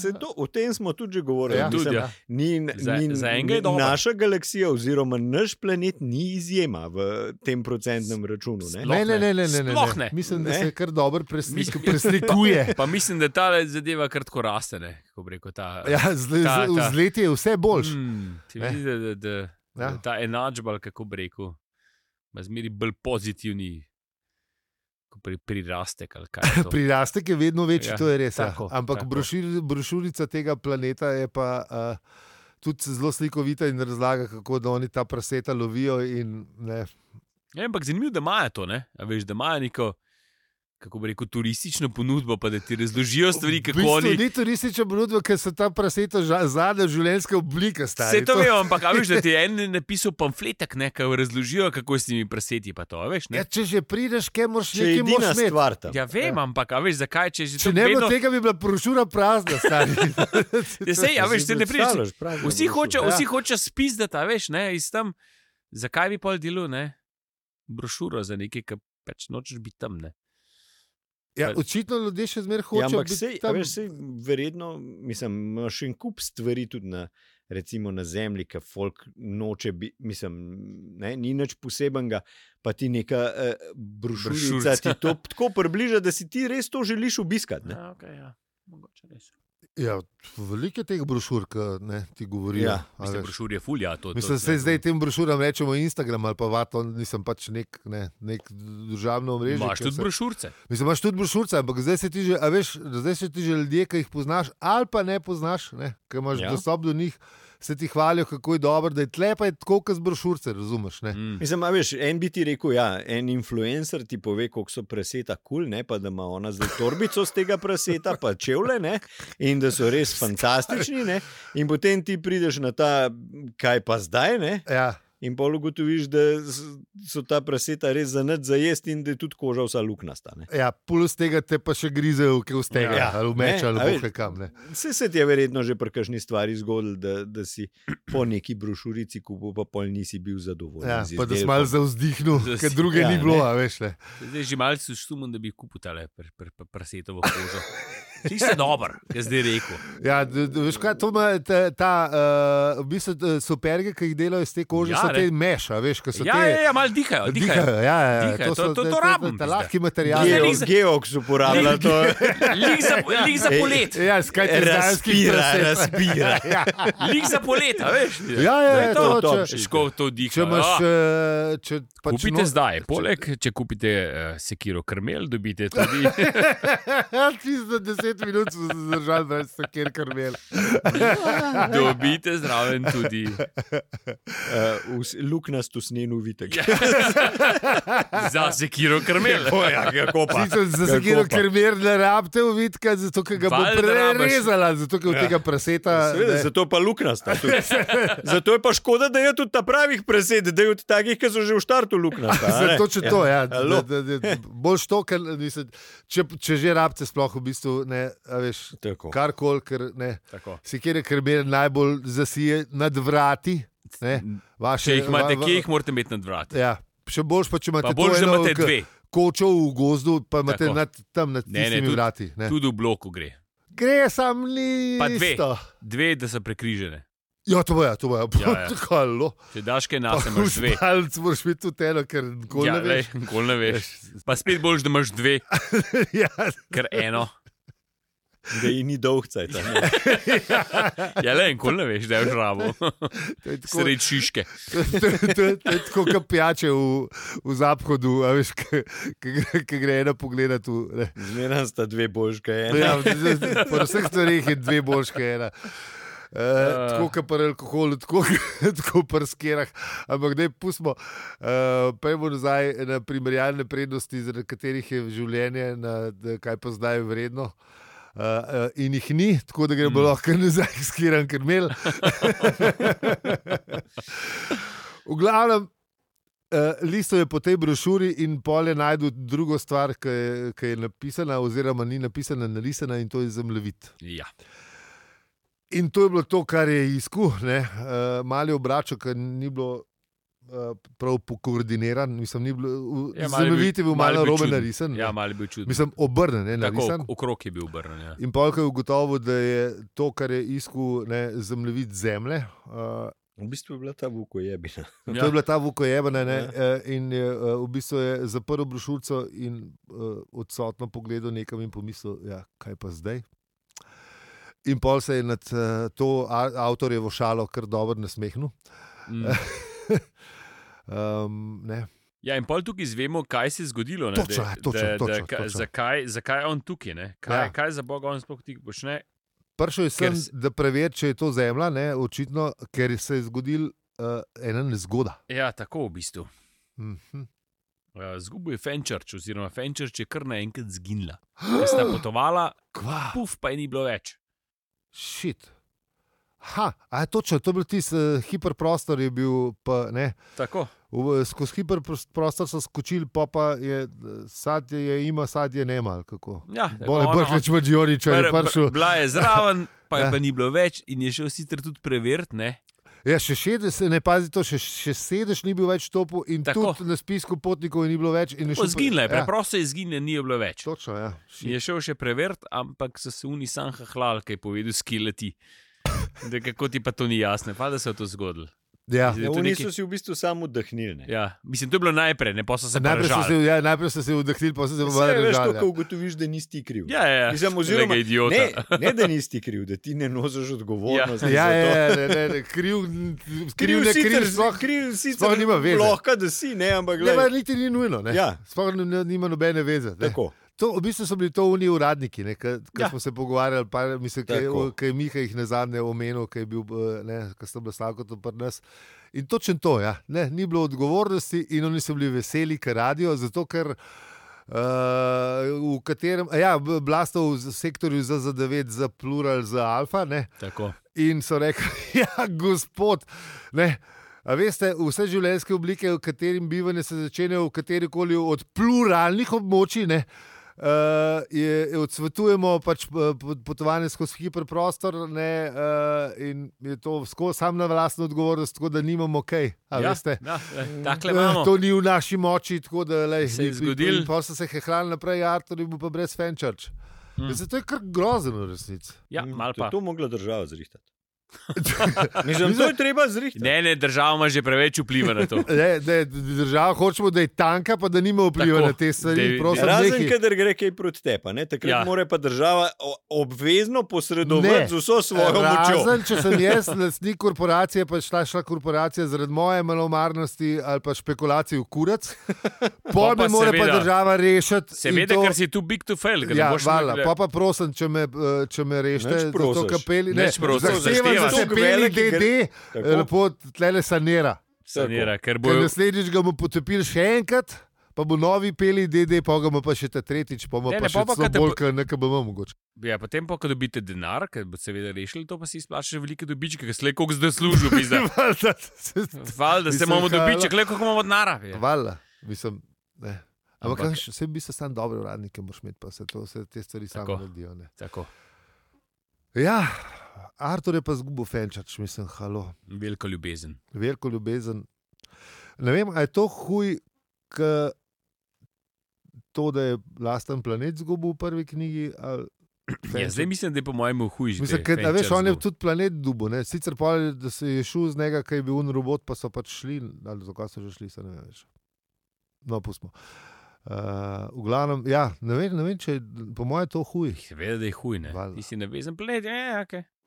Speaker 3: Se to, o tem smo tudi že govorili.
Speaker 1: Ja.
Speaker 3: Mislim,
Speaker 2: Tudi, ja.
Speaker 3: ni,
Speaker 2: Za-
Speaker 3: ni,
Speaker 2: za enega je
Speaker 3: ni,
Speaker 2: dobro.
Speaker 3: naša galaksija, oziroma naš planet, ni izjema v tem procentnem računu. Ne?
Speaker 2: Sploh
Speaker 1: Ne, ne,
Speaker 2: ne.
Speaker 1: ne, ne, ne, ne,
Speaker 2: Sploh ne.
Speaker 1: Mislim, da
Speaker 3: Ne.
Speaker 1: se kar dobro preslik, preslikuje.
Speaker 2: Pa mislim, da ta zadeva kar tako raste. Ne, kako bi rekel, ta,
Speaker 1: Ja, zle,
Speaker 2: Ta-
Speaker 1: ta,
Speaker 2: ta.
Speaker 1: ta. Vzlet je vse boljš.
Speaker 2: Mm, se mi
Speaker 1: Ne.
Speaker 2: zdi, da, da, da, da
Speaker 1: Ja.
Speaker 2: ta enačba, ali kako bi rekel, ima zmeri bolj pozitivni ko pri, prirastek. ali kaj je to.
Speaker 1: Prirastek je vedno večji,
Speaker 2: Ja,
Speaker 1: ja, to je res.
Speaker 2: tako,
Speaker 1: Tako, ja. Ampak
Speaker 2: tako.
Speaker 1: brošir, brošurica tega planeta je pa uh, tudi zelo slikovita in razlaga, kako da oni ta praseta lovijo. In, ne,
Speaker 2: Ja, ampak zanimivo, da imajo to, ne? A veš, da imajo neko. Kako bi rekel, turistično ponudbo, pa da ti razložijo stvari, kako
Speaker 1: v bistvu
Speaker 2: oni.
Speaker 1: Ni turistična ponudba, ker so ta praseta ža- zadnja življenjska oblika. Stari,
Speaker 2: Vse to vemo, ampak a veš, da ti je en napisal pamfletek, ne, ki razložijo, kako s temi preseti. Pa to, a veš, ne?
Speaker 1: Ja, če že prideš, kaj moraš
Speaker 3: Če je
Speaker 1: nekaj
Speaker 3: edina
Speaker 1: moraš imeti.
Speaker 3: stvar tam.
Speaker 2: Ja, vem, ampak a veš, zakaj če že
Speaker 1: Če
Speaker 2: to
Speaker 1: ne bi
Speaker 2: vedno...
Speaker 1: bilo tega, bi bila brošura prazna. stari.
Speaker 2: Ja, sej, a veš,
Speaker 3: Si
Speaker 2: te ne prideš.
Speaker 3: predstavljaš, pravno,
Speaker 2: Vsi
Speaker 3: mislim.
Speaker 2: hoče,
Speaker 1: Ja.
Speaker 2: vsi hoče spizdati, a veš, ne, iz tam. Zakaj bi pol delal, ne? Brošuro za nekaj, kar pač nočeš biti tam, ne.
Speaker 1: Ja,
Speaker 2: Pa-
Speaker 1: očitno ljudje še zmeraj
Speaker 3: Ja,
Speaker 1: hočejo.
Speaker 3: ampak
Speaker 1: biti
Speaker 3: sej, a
Speaker 1: tam-
Speaker 3: veš, sej, verjetno, mislim, imaš še en kup stvari tudi na, recimo, na zemlji, ki folk noče, bi, mislim, ne, ni nič posebenega, pa ti neka eh, brošurica
Speaker 2: Brošurica.
Speaker 3: ti to tako približa, da si ti res to želiš obiskati. Ne?
Speaker 2: Ja, okay, ja. Mogoče res.
Speaker 1: ja, veliko je teh brošur, ki ne, ti govorijo.
Speaker 3: Ja,
Speaker 1: a
Speaker 2: Mislim,
Speaker 1: veš.
Speaker 2: brošur je fulja. To,
Speaker 1: Mislim,
Speaker 2: to,
Speaker 1: da zdaj tem brošuram rečemo Instagram ali pa vato, nisem pač nek, ne, nek državno mrežo.
Speaker 2: Imaš tudi brošurce.
Speaker 1: Mislim, imaš tudi brošurice, ampak zdaj se ti že, a veš, zdaj se ti že ljudje, ki jih poznaš ali pa ne poznaš, ne, ki imaš
Speaker 3: Ja.
Speaker 1: ja. dostop do njih, se ti hvalijo, kako je dobro, da je tlepa je tako, kot z brošurice, razumeš? Ne?
Speaker 2: Mm.
Speaker 3: Mislim, a veš, en bi ti rekel, ja, en influencer ti pove, koliko so preseta kul, cool, ne, pa da ima ona zdaj torbico z tega preseta, pa čevlje, ne, in da so res fantastični, ne, in potem ti prideš na ta, kaj pa zdaj, ne,
Speaker 1: Ja,
Speaker 3: In pa ugotoviš, da s- so ta praseta res za noč zajesti in da je tudi koža vsa luknasta. ne.
Speaker 1: ja, plus tega te pa še grizejo, ki vstega,
Speaker 3: Ja.
Speaker 1: ja, ali v meč,
Speaker 3: Ne, a
Speaker 1: ali
Speaker 3: veš.
Speaker 1: bohe kam. Ne.
Speaker 3: Saj se ti je verjetno že pri kakšni stvari zgodilo, da, da si po neki brošurici kupil, pa pol nisi bil zadovoljen.
Speaker 1: Ja,
Speaker 3: z
Speaker 1: pa da si
Speaker 3: izdelkom.
Speaker 1: mal zavzdihnil,
Speaker 2: Zas-
Speaker 1: ker druge
Speaker 3: ja,
Speaker 1: ja, ni bilo,
Speaker 3: ne.
Speaker 1: a veš. Ne.
Speaker 2: Zdaj že malce sumim, da bi kupil tale pr- pr- pr- prsetovo kožo. Čisto dobro, kaj zdaj rekel.
Speaker 1: Ja, d- d- veš kaj, to ima ta, ta uh, v bistvu eh, so perge, ki jih delajo iz te kože,
Speaker 2: Ja,
Speaker 1: ja, so
Speaker 2: ne.
Speaker 1: te meša, veš, ki so
Speaker 2: Ja,
Speaker 1: te.
Speaker 2: ja, ja, malo dihajo, dihajo.
Speaker 1: Dihajo, ja, ja,
Speaker 2: Dihajo, to-
Speaker 1: so
Speaker 2: to-
Speaker 1: te-
Speaker 2: to
Speaker 1: te-
Speaker 2: rabim
Speaker 1: te
Speaker 2: zdaj.
Speaker 1: lahki materiali.
Speaker 2: Ja,
Speaker 3: Geo,
Speaker 2: Liza-
Speaker 3: Geoks uporablja to,
Speaker 2: Lik za, lik za polet,
Speaker 1: Ja, skaj te zdajski
Speaker 3: razpira,
Speaker 1: prste.
Speaker 3: razpira.
Speaker 1: Ja,
Speaker 2: lik za polet, a veš?
Speaker 1: ja, ja,
Speaker 3: Da je
Speaker 1: ja,
Speaker 3: to
Speaker 1: to,
Speaker 3: top
Speaker 1: če,
Speaker 3: shit.
Speaker 2: Škov to diha. Ah.
Speaker 1: če imaš, eh, če
Speaker 2: Pa,
Speaker 1: pač
Speaker 2: kupite
Speaker 1: no-
Speaker 2: no, zdaj, poleg če kupite uh, sekiro krmel, dobite tudi
Speaker 1: Ja, Čisto 10 minut so se zdržali, brez kjer krmel.
Speaker 2: Dobite zraven tudi
Speaker 3: Uh, luknast usnjen uvitek.
Speaker 2: Ja. za sekiro krmel.
Speaker 3: Kako, ja, kako pa?
Speaker 1: Sicer za
Speaker 3: Kako
Speaker 1: sekiro
Speaker 3: pa?
Speaker 1: krmel ne rabite uvitka, zato ker ga bo
Speaker 2: Valjda rabiš.
Speaker 1: prerezala, zato ker od
Speaker 3: Ja.
Speaker 1: tega praseta.
Speaker 3: Seveda,
Speaker 1: ne.
Speaker 3: zato je pa luknasta. tudi. Zato je pa škoda, da je tudi ta pravih presed, da je od takih, ki so že v štartu luknasta. a ne?
Speaker 1: Zato, če to, ja,
Speaker 3: Alo.
Speaker 1: da, da, da, boljš to, ker mislim, če, če že rabite, sploh v bistvu ne, a veš,
Speaker 3: Tako.
Speaker 1: kar koli, ker ne.
Speaker 3: Tako.
Speaker 1: Si kjer je krmel najbolj zasije nad vrati. Ne, vaše,
Speaker 2: Če jih imate,
Speaker 1: va- va-
Speaker 2: kje jih morate imeti nad vrati.
Speaker 1: Ja, še bolj pa če imate
Speaker 2: Pa bolj,
Speaker 1: to
Speaker 2: da
Speaker 1: eno,
Speaker 2: imate
Speaker 1: ke-
Speaker 2: dve,
Speaker 1: Kočo v gozdu, pa imate
Speaker 2: Tako.
Speaker 1: nad, tam nad
Speaker 2: Ne, ne,
Speaker 1: tistimi
Speaker 2: tudi-
Speaker 1: vrati. Ne.
Speaker 2: tudi v bloku gre.
Speaker 1: Gre sam
Speaker 2: Pa dve.
Speaker 1: listo.
Speaker 2: Dve, da so prekrižene.
Speaker 1: Ja, to boja, to boja.
Speaker 2: Ja, ja.
Speaker 1: Tako alo.
Speaker 2: Če daš kaj nas, imaš dve.
Speaker 1: Palc moraš biti tudi eno, ker nikoli
Speaker 2: Ja,
Speaker 1: ne
Speaker 2: lej,
Speaker 1: veš.
Speaker 2: nikoli ne veš. Pa spet boljš, da imaš dve,
Speaker 1: ja,
Speaker 2: ker eno.
Speaker 3: Da ji ni dolgcaj.
Speaker 2: Ja, le, nikoli ne veš, da je v žravu.
Speaker 1: to je tako,
Speaker 2: Sred šiške.
Speaker 1: to, to, to, je- to je tako kot pijače v, v zaphodu, a veš, ki- ki gre- ki gre ena pogledat tu. Ne.
Speaker 3: Zmeraj sta dve božke. ena.
Speaker 1: Ja, po vseh stvareh je dve božke ena. Uh, tako kot pri alkoholu, tako kot pri skerah. Ampak da pustimo, uh, pojmo nazaj na primerjalne prednosti, zaradi katerih je življenje, na, da, kaj pa zdaj je vredno. Uh, uh, in jih ni, tako da gremo mm. lahko nazaj, skiran krmel. v glavnem, Uh, Listo je po tej brošuri in polje najdel drugo stvar, ki je, ki je napisana, oziroma ni napisana, narisana in to je zemljevid.
Speaker 2: Ja.
Speaker 1: In to je bilo to, kar je iskal, uh, malo obračal, ker ni bilo. Uh, prav pokoordiniran, mislim, ni bilo,
Speaker 2: Ja,
Speaker 1: ja,
Speaker 2: malo je bil-
Speaker 1: zemljevid je bil
Speaker 2: malo je
Speaker 1: malo
Speaker 2: bil
Speaker 1: robe
Speaker 2: čuden.
Speaker 1: narisan.
Speaker 2: Ja,
Speaker 1: ne.
Speaker 2: malo je bil čudno.
Speaker 1: Mislim, obrnen, ne,
Speaker 2: Tako,
Speaker 1: narisan.
Speaker 2: okrog je bil obrnjen. Ja.
Speaker 1: In polk je ugotovil, da je to, kar je iskal, ne, zemljevid zemlje. Uh,
Speaker 3: V bistvu je bila ta vuko jebina.
Speaker 1: Ja. To je
Speaker 2: Ja.
Speaker 1: bila ta vukojebana
Speaker 3: Ja.
Speaker 1: ne, eh, in je, eh, v bistvu je zaprl brošurico in eh, odsotno pogledal nekam in pomislil, ja, kaj pa zdaj. In pol se je nad eh, to a- avtorjevo šalo kar dobro nasmehnil.
Speaker 2: Mm.
Speaker 1: Um, ne.
Speaker 2: Ja, in pol tukaj izvemo, kaj se je zgodilo. Ne?
Speaker 1: Točno,
Speaker 2: da-
Speaker 1: ja, točno,
Speaker 2: da- da-
Speaker 1: točno,
Speaker 2: ka-
Speaker 1: točno.
Speaker 2: Zakaj, zakaj je on tukaj? Ne? Kaj, ja.
Speaker 1: Ja.
Speaker 2: kaj za Boga on sploh ti počne?
Speaker 1: Prišel je sem,
Speaker 2: Ker s-
Speaker 1: da preveri, če je to zemlja, ne, očitno, ker se je zgodil uh, ena nezgoda.
Speaker 2: Ja, tako v bistvu.
Speaker 1: Mhm.
Speaker 2: Eh, Zgubil je Fenčerč, oziroma Fenčerč je kar naenkrat zginila. Ker Sta potovala,
Speaker 1: Kva,
Speaker 2: puf, pa je ni bilo več.
Speaker 1: šit. Ha, a je točno, to je bil tisti uh, hiperprostor, je bil pa ne.
Speaker 2: Tako.
Speaker 1: V- Skozi hiperprostor so skočili, pa, pa je sad je, je ima, sad je nema. ali kako.
Speaker 2: Ja, tako
Speaker 1: Bole,
Speaker 2: ona-
Speaker 1: Brklič, Mađiorič, je
Speaker 2: Pr- pr-
Speaker 1: prišel.
Speaker 2: Bila je zraven, pa je
Speaker 1: Ja.
Speaker 2: pa ni bilo več in je šel sicer tudi preveriti, ne.
Speaker 1: Ja, še šediš, ne pazi to, še, še sedež ni bil več topu in
Speaker 2: Tako.
Speaker 1: tako na spisku potnikov je ni bilo več. in je šel pa-
Speaker 2: Zginile, ja.
Speaker 1: ja,
Speaker 2: preprosto je zginile, ni je bilo več.
Speaker 1: Točno, ja.
Speaker 2: In Je šel še preveriti, ampak so se uni sam hahlal, ki je povedal, skileti. Da, kako ti pa to ni jasno, pa da se je to zgodilo.
Speaker 1: ja.
Speaker 2: Zdaj,
Speaker 3: Ja,
Speaker 2: to
Speaker 3: Oni
Speaker 2: nekaj-
Speaker 3: so si v bistvu samo oddahnili. ne.
Speaker 2: Ja, mislim, to je bilo najprej, ne pa so se
Speaker 1: Najprej so se,
Speaker 2: prežali.
Speaker 1: ja, najprej so se vdahnili, pa so se ja.
Speaker 3: Saj
Speaker 1: obvarali.
Speaker 3: veš, to, ko ugotoviš, da nisi ti kriv.
Speaker 2: Ja, ja, ja.
Speaker 3: Mislim, oziroma,
Speaker 2: Lega idiota.
Speaker 3: ne, ne, da nisi ti kriv, da ti ne nosiš odgovornost.
Speaker 1: Ja, ja, ja, ne, ne, ne, kriv, n- kriv, ne, kriv, sploh,
Speaker 3: kriv,
Speaker 1: sploh nima veze.
Speaker 3: Lahko da si, ne, ampak
Speaker 1: ne,
Speaker 3: gledaj.
Speaker 1: pa niti ni nujno, ne.
Speaker 3: Ja.
Speaker 1: Sploh ni- ni- nima nobene veze. Ne.
Speaker 3: Tako.
Speaker 1: To, v bistvu so bili to oni uradniki, ne, ki
Speaker 2: Ja.
Speaker 1: ja. smo se pogovarjali, pa mislim, ki je-
Speaker 3: Tako.
Speaker 1: ki je Miha jih nazadnje omenil, ki je bil, eh, ne, ki sta bila slavkota pri nas. In točno to, ja, ne, ni bilo odgovornosti in oni so bili veseli, ker radijo, zato ker Uh, v katerem, a ja, b- bila sta v z- sektorju za ZDV, za plural, za alfa, ne,
Speaker 2: Tako.
Speaker 1: in so rekli, ja, gospod, ne. A veste, vse življenjske oblike, v katerim bivanje se začne, v kateri koli od pluralnih območij, ne, uh, je, je odsvetujemo pač eh, pot- potovanje skozi hiperprostor ne, uh, in je to skozi sam na vlastno odgovornost, tako da nimamo kaj. a
Speaker 2: Ja,
Speaker 1: veste.
Speaker 2: ja, eh, takle
Speaker 1: Eh,
Speaker 2: imamo.
Speaker 1: To ni v naši moči, tako da lej,
Speaker 2: Se je
Speaker 1: in- in-
Speaker 2: zgodilo.
Speaker 1: in Pol so se hehlali naprej, Artur je bil pa brez fenčarč.
Speaker 2: Mm.
Speaker 1: Mm. Zato je kar grozno, v resnici.
Speaker 2: Ja,
Speaker 3: Mm,
Speaker 2: malo
Speaker 3: to-
Speaker 2: pa.
Speaker 3: To mogla država zrihtati. Mislim, to je treba zrihtati.
Speaker 2: Ne, ne, država ima že preveč vpliva na to.
Speaker 1: Ne, ne, država hočemo, da je tanka, pa da nima vpliva
Speaker 2: Tako,
Speaker 1: na te
Speaker 2: da je-
Speaker 1: stvari. Prosim,
Speaker 3: Razen,
Speaker 1: nehaj.
Speaker 3: kadar gre kaj proti tebi, ne, takrat
Speaker 2: Ja.
Speaker 3: ja. mora pa država o- obvezno
Speaker 1: Ne.
Speaker 3: posredovati z vso svojo močjo.
Speaker 1: Razen, če sem jaz lastnik korporacije, pa je šla, šla korporacija zaradi moje malomarnosti ali pa špekulacij v kurac,
Speaker 2: Pa
Speaker 1: pol
Speaker 2: pa
Speaker 1: me mora pa
Speaker 2: seveda-
Speaker 1: država rešiti. in
Speaker 2: Seveda,
Speaker 1: to-
Speaker 2: ker si tu big to fail, ker ne
Speaker 1: Ja,
Speaker 2: boš
Speaker 1: hvala.
Speaker 2: mogel- e,
Speaker 1: Pa, pa prosim, če me, eh, če me
Speaker 3: Nič
Speaker 1: rešite,
Speaker 3: prosiš.
Speaker 1: zato kapeli.
Speaker 2: Nič
Speaker 1: zahtevam,
Speaker 2: prosiš,
Speaker 1: da se
Speaker 2: zahtevaš.
Speaker 1: peli
Speaker 3: Velik igr-
Speaker 1: DD,
Speaker 3: Tako.
Speaker 1: lepo tlele sanira.
Speaker 2: sanira,
Speaker 1: Ker
Speaker 2: ker bojo.
Speaker 1: naslednjič ga bo potopil še enkrat. Pa bo novi peli DD, pa ga bo pa še ta tretjič, pa bo
Speaker 2: Ne,
Speaker 1: pa
Speaker 2: ne,
Speaker 1: še
Speaker 2: pol pa,
Speaker 1: celo
Speaker 2: kad te
Speaker 1: bolj, kot NKBM mogoče.
Speaker 2: Ja, potem pa, ko dobite denar, ker bo seveda rešili, to pa si izplačate velike dobičke, ker slej koliko zdaj služil, pizda. Hvala, da se
Speaker 1: Mislim,
Speaker 2: imamo
Speaker 1: hvala.
Speaker 2: dobiček, le koliko imamo ja. denara. je.
Speaker 1: Hvala, mislim. Ne.
Speaker 2: Ampak-
Speaker 1: Ampak, Ampak vse bi se sam dobre uradnike, moraš imeti, pa se, to, se te stvari same
Speaker 2: Tako.
Speaker 1: naredijo. Ne.
Speaker 2: Tako,
Speaker 1: Ja, Artur je pa zgubil fenčač, mislim, halo.
Speaker 2: veliko ljubezen.
Speaker 1: veliko ljubezen. Ne vem, ali je to huj, kot to, da je lasten planet izgubil v prvi knjigi. Ali...
Speaker 2: Ja, zdaj mislim, da je po mojem hujši.
Speaker 1: Mislim, ker, a veš, on je tudi planet dubo. Ne? Sicer pa je, da se je šel z njega, ker je bil un robot, pa so pač šli, ali zakaj so že šli, se ne vem več. No, pustimo. Uh, v glavnem, ja, ne vem, ne vem če je, po mojem, to huj.
Speaker 2: Seveda, da je huj. ne.
Speaker 1: Valjda.
Speaker 2: Ti si navezen planet, je, okay.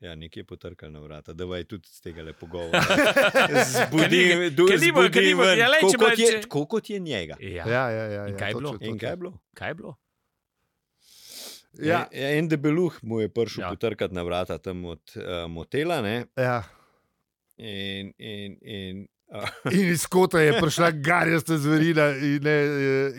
Speaker 3: Ja, nekje je potrkal na vrata, da je tudi z tega le pogovora. Zbudi, du-
Speaker 2: ker ni bo- ker ni
Speaker 3: zbudi
Speaker 2: bo-
Speaker 3: ven,
Speaker 2: ja, lej,
Speaker 3: tako
Speaker 2: če bo-
Speaker 3: kot je-
Speaker 2: če-
Speaker 3: tako kot je njega.
Speaker 2: Ja.
Speaker 1: Ja,
Speaker 2: ja.
Speaker 1: ja, ja,
Speaker 2: In
Speaker 1: ja,
Speaker 2: kaj je bilo?
Speaker 1: točno,
Speaker 3: In
Speaker 1: točno.
Speaker 3: kaj je bilo?
Speaker 2: Kaj je bilo?
Speaker 1: Ja,
Speaker 3: E- En debeluh mu je prišel
Speaker 2: Ja.
Speaker 3: ja. potrkati na vrata tam od uh, motela. Ne?
Speaker 1: ja.
Speaker 3: In, in, in, uh,
Speaker 1: In iz kota je prišla garjasta zverina in, ne,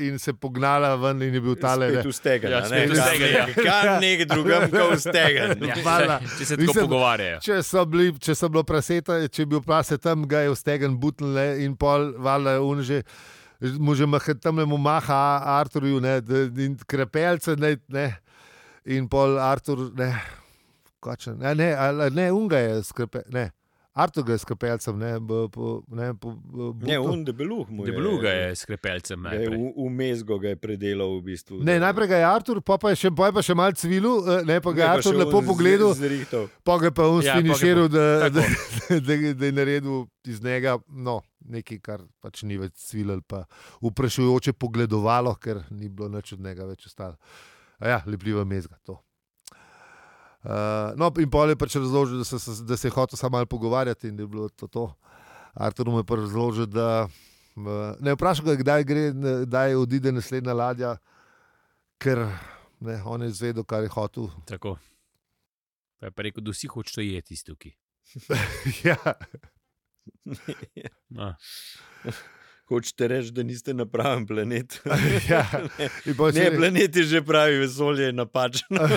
Speaker 1: in se pognala ven, in je bil tale. ne.
Speaker 3: spet ustegan.
Speaker 2: Ja,
Speaker 3: a
Speaker 2: spet
Speaker 3: ne?
Speaker 2: ustegan, ja.
Speaker 3: Kam nek drugem, kot ustegan.
Speaker 2: Ja,
Speaker 1: Hvala.
Speaker 2: saj, če se tako
Speaker 1: No, Mislim-
Speaker 2: pogovarjajo.
Speaker 1: Če so bili, če so bilo praseta, če je bil prase tam, ga je ustegen butn in pol valjda unže. Mu že mah, tam le mu maha, Arturju, ne, da- in krepelce, ne, ne, in pol Artur, ne, kočen, ne, ne, ali- ne, unga je skrepe, ne, Artur ga je s krepelcem, ne, bo- po, ne, po, bo-
Speaker 3: Ne,
Speaker 1: butnil.
Speaker 3: un debeluh mu je.
Speaker 2: Debluga je s krepelcem.
Speaker 3: ga je
Speaker 2: najprej.
Speaker 3: v- Vmes go ga je predelal v bistvu.
Speaker 1: Ne, najprej ga je Artur, pa, pa je še, pa je pa še malo cvilu, eh, ne, pa ga je
Speaker 3: Ne, pa
Speaker 1: Artur
Speaker 3: še
Speaker 1: lepo
Speaker 3: on z-
Speaker 1: pogledal,
Speaker 3: zrihtal.
Speaker 1: pa ga je pa on
Speaker 2: Ja, pol ga je pa-
Speaker 1: sfiniširal, da,
Speaker 2: Tako.
Speaker 1: da, da, da je naredil iz njega no, nekaj, kar pač ni več cvilo ali pa vprašujoče pogledovalo, ker ni bilo nič od njega več ostalo. A Ja, lepljiva mezga to. Uh, no, in pol je pač razložil, da se, se- da se je hotel samo malo pogovarjati in da je bilo to. to. Artur mu je pa razložil, da uh, ne vprašaj, ga, kdaj, gre, ne, kdaj odide naslednja ladja, ker ne, on je izvedel, kar je hotel.
Speaker 2: Tako. Pa je pa rekel, da vsi hočejo jeti iz tukaj.
Speaker 1: ja,
Speaker 2: Ah.
Speaker 3: Hočete reči, da niste na pravem planetu.
Speaker 1: ja. In pol
Speaker 3: ne,
Speaker 1: se-
Speaker 3: planet je že pravi, vesolje je napačno.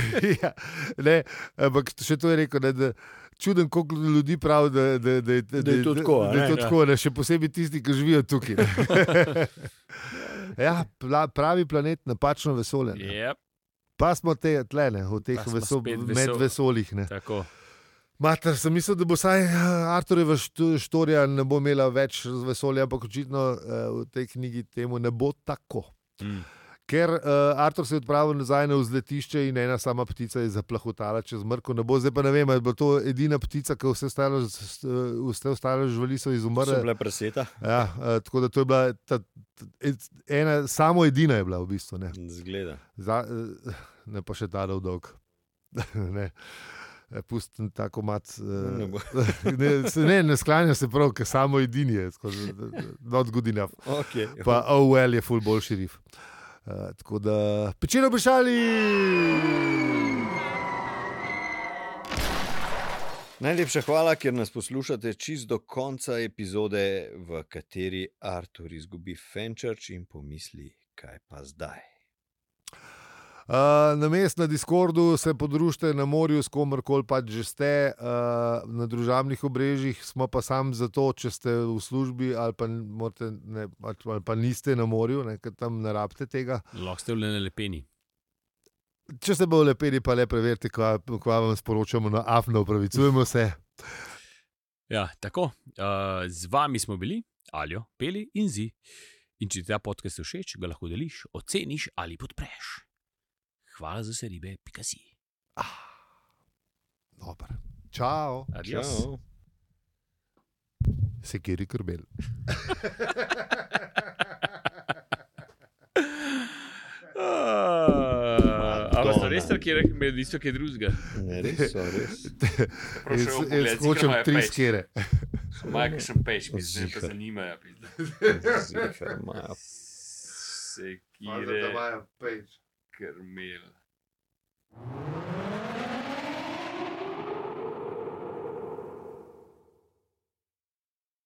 Speaker 1: ja, ne, ampak še to je rekel, ne, da čuden, koliko ljudi pravi, da, da, da, da,
Speaker 3: Da je to tako, a
Speaker 1: Da, da
Speaker 3: ne?
Speaker 1: je to
Speaker 2: Ja.
Speaker 1: tako ne, še posebej tisti, ki živijo tukaj. ne. ja, pla, pravi planet, napačno vesolje. Ne.
Speaker 2: Yep,
Speaker 1: Pa smo te tlene, v teh
Speaker 2: Pa smo
Speaker 1: veso,
Speaker 2: spet veso-
Speaker 1: medvesoljih. ne.
Speaker 2: tako.
Speaker 1: Mater, sem mislil, da bo vsaj eh, Arturjeva štu- štorija ne bo imela več vesolja, ampak očitno eh, v tej knjigi temu ne bo tako.
Speaker 2: Mm.
Speaker 1: Ker uh, Artur se je odpravil nazaj na vzletišče in ena sama ptica je zaplahotala čez mrko. Ne bo zdaj pa ne vem, ali je bila to edina ptica, ki je vse ostale, s- vse ostale živali so
Speaker 3: So
Speaker 1: izumrle.
Speaker 3: bile preseta,
Speaker 1: Ja, uh, tako da to je bila ta, ta, et- ena, samo edina je bila v bistvu. Ne,
Speaker 3: zgleda.
Speaker 1: Za, uh, ne pa še ta dolg. ne. Eh, Pustim tako mat. eh,
Speaker 3: Ne bo.
Speaker 1: ne, se- ne, ne sklanja se prav, ker samo edini je, tako da- da- da- not good enough.
Speaker 3: Okay.
Speaker 1: Pa OL je full boljši rif. Uh, tako da pečeno obešali.
Speaker 3: Najlepša hvala, ker nas poslušate čist do konca epizode, v kateri Artur izgubi Fenčerč in pomisli, kaj pa zdaj.
Speaker 1: Uh, na mestu na Discordu se podružite na morju, s komerkoli pač že ste, uh, na družabnih obrežjih smo pa sam zato, če ste v službi ali pa, n- morate, ne, pač- ali pa niste na morju, ne, ker tam ne rabite tega.
Speaker 2: Lahko ste bili na lepeni.
Speaker 1: Če ste bolj lepeli, pa le preverite, kva, kva vam sporočamo na AFNO, upravičujemo se.
Speaker 2: Ja, tako, uh, z vami smo bili, alijo, peli in zi. In če ti ta podcast všeč, ga lahko deliš, oceniš ali podpreš. Hvala za vse ribe, pika si.
Speaker 1: Dobar. Čau,
Speaker 2: Adios.
Speaker 3: Čau.
Speaker 1: se kjer je krbel.
Speaker 2: Ampak
Speaker 3: so res
Speaker 2: tako, ki je isto, ki je drugega.
Speaker 3: Ne, res, so, res.
Speaker 1: Jaz hočem tri skere.
Speaker 2: Majka še peč,
Speaker 3: mi zdaj pa
Speaker 2: zanima.
Speaker 3: Ziher imajo.
Speaker 2: Se eh, é
Speaker 1: Mazda, da imajo pejč.
Speaker 2: krmil.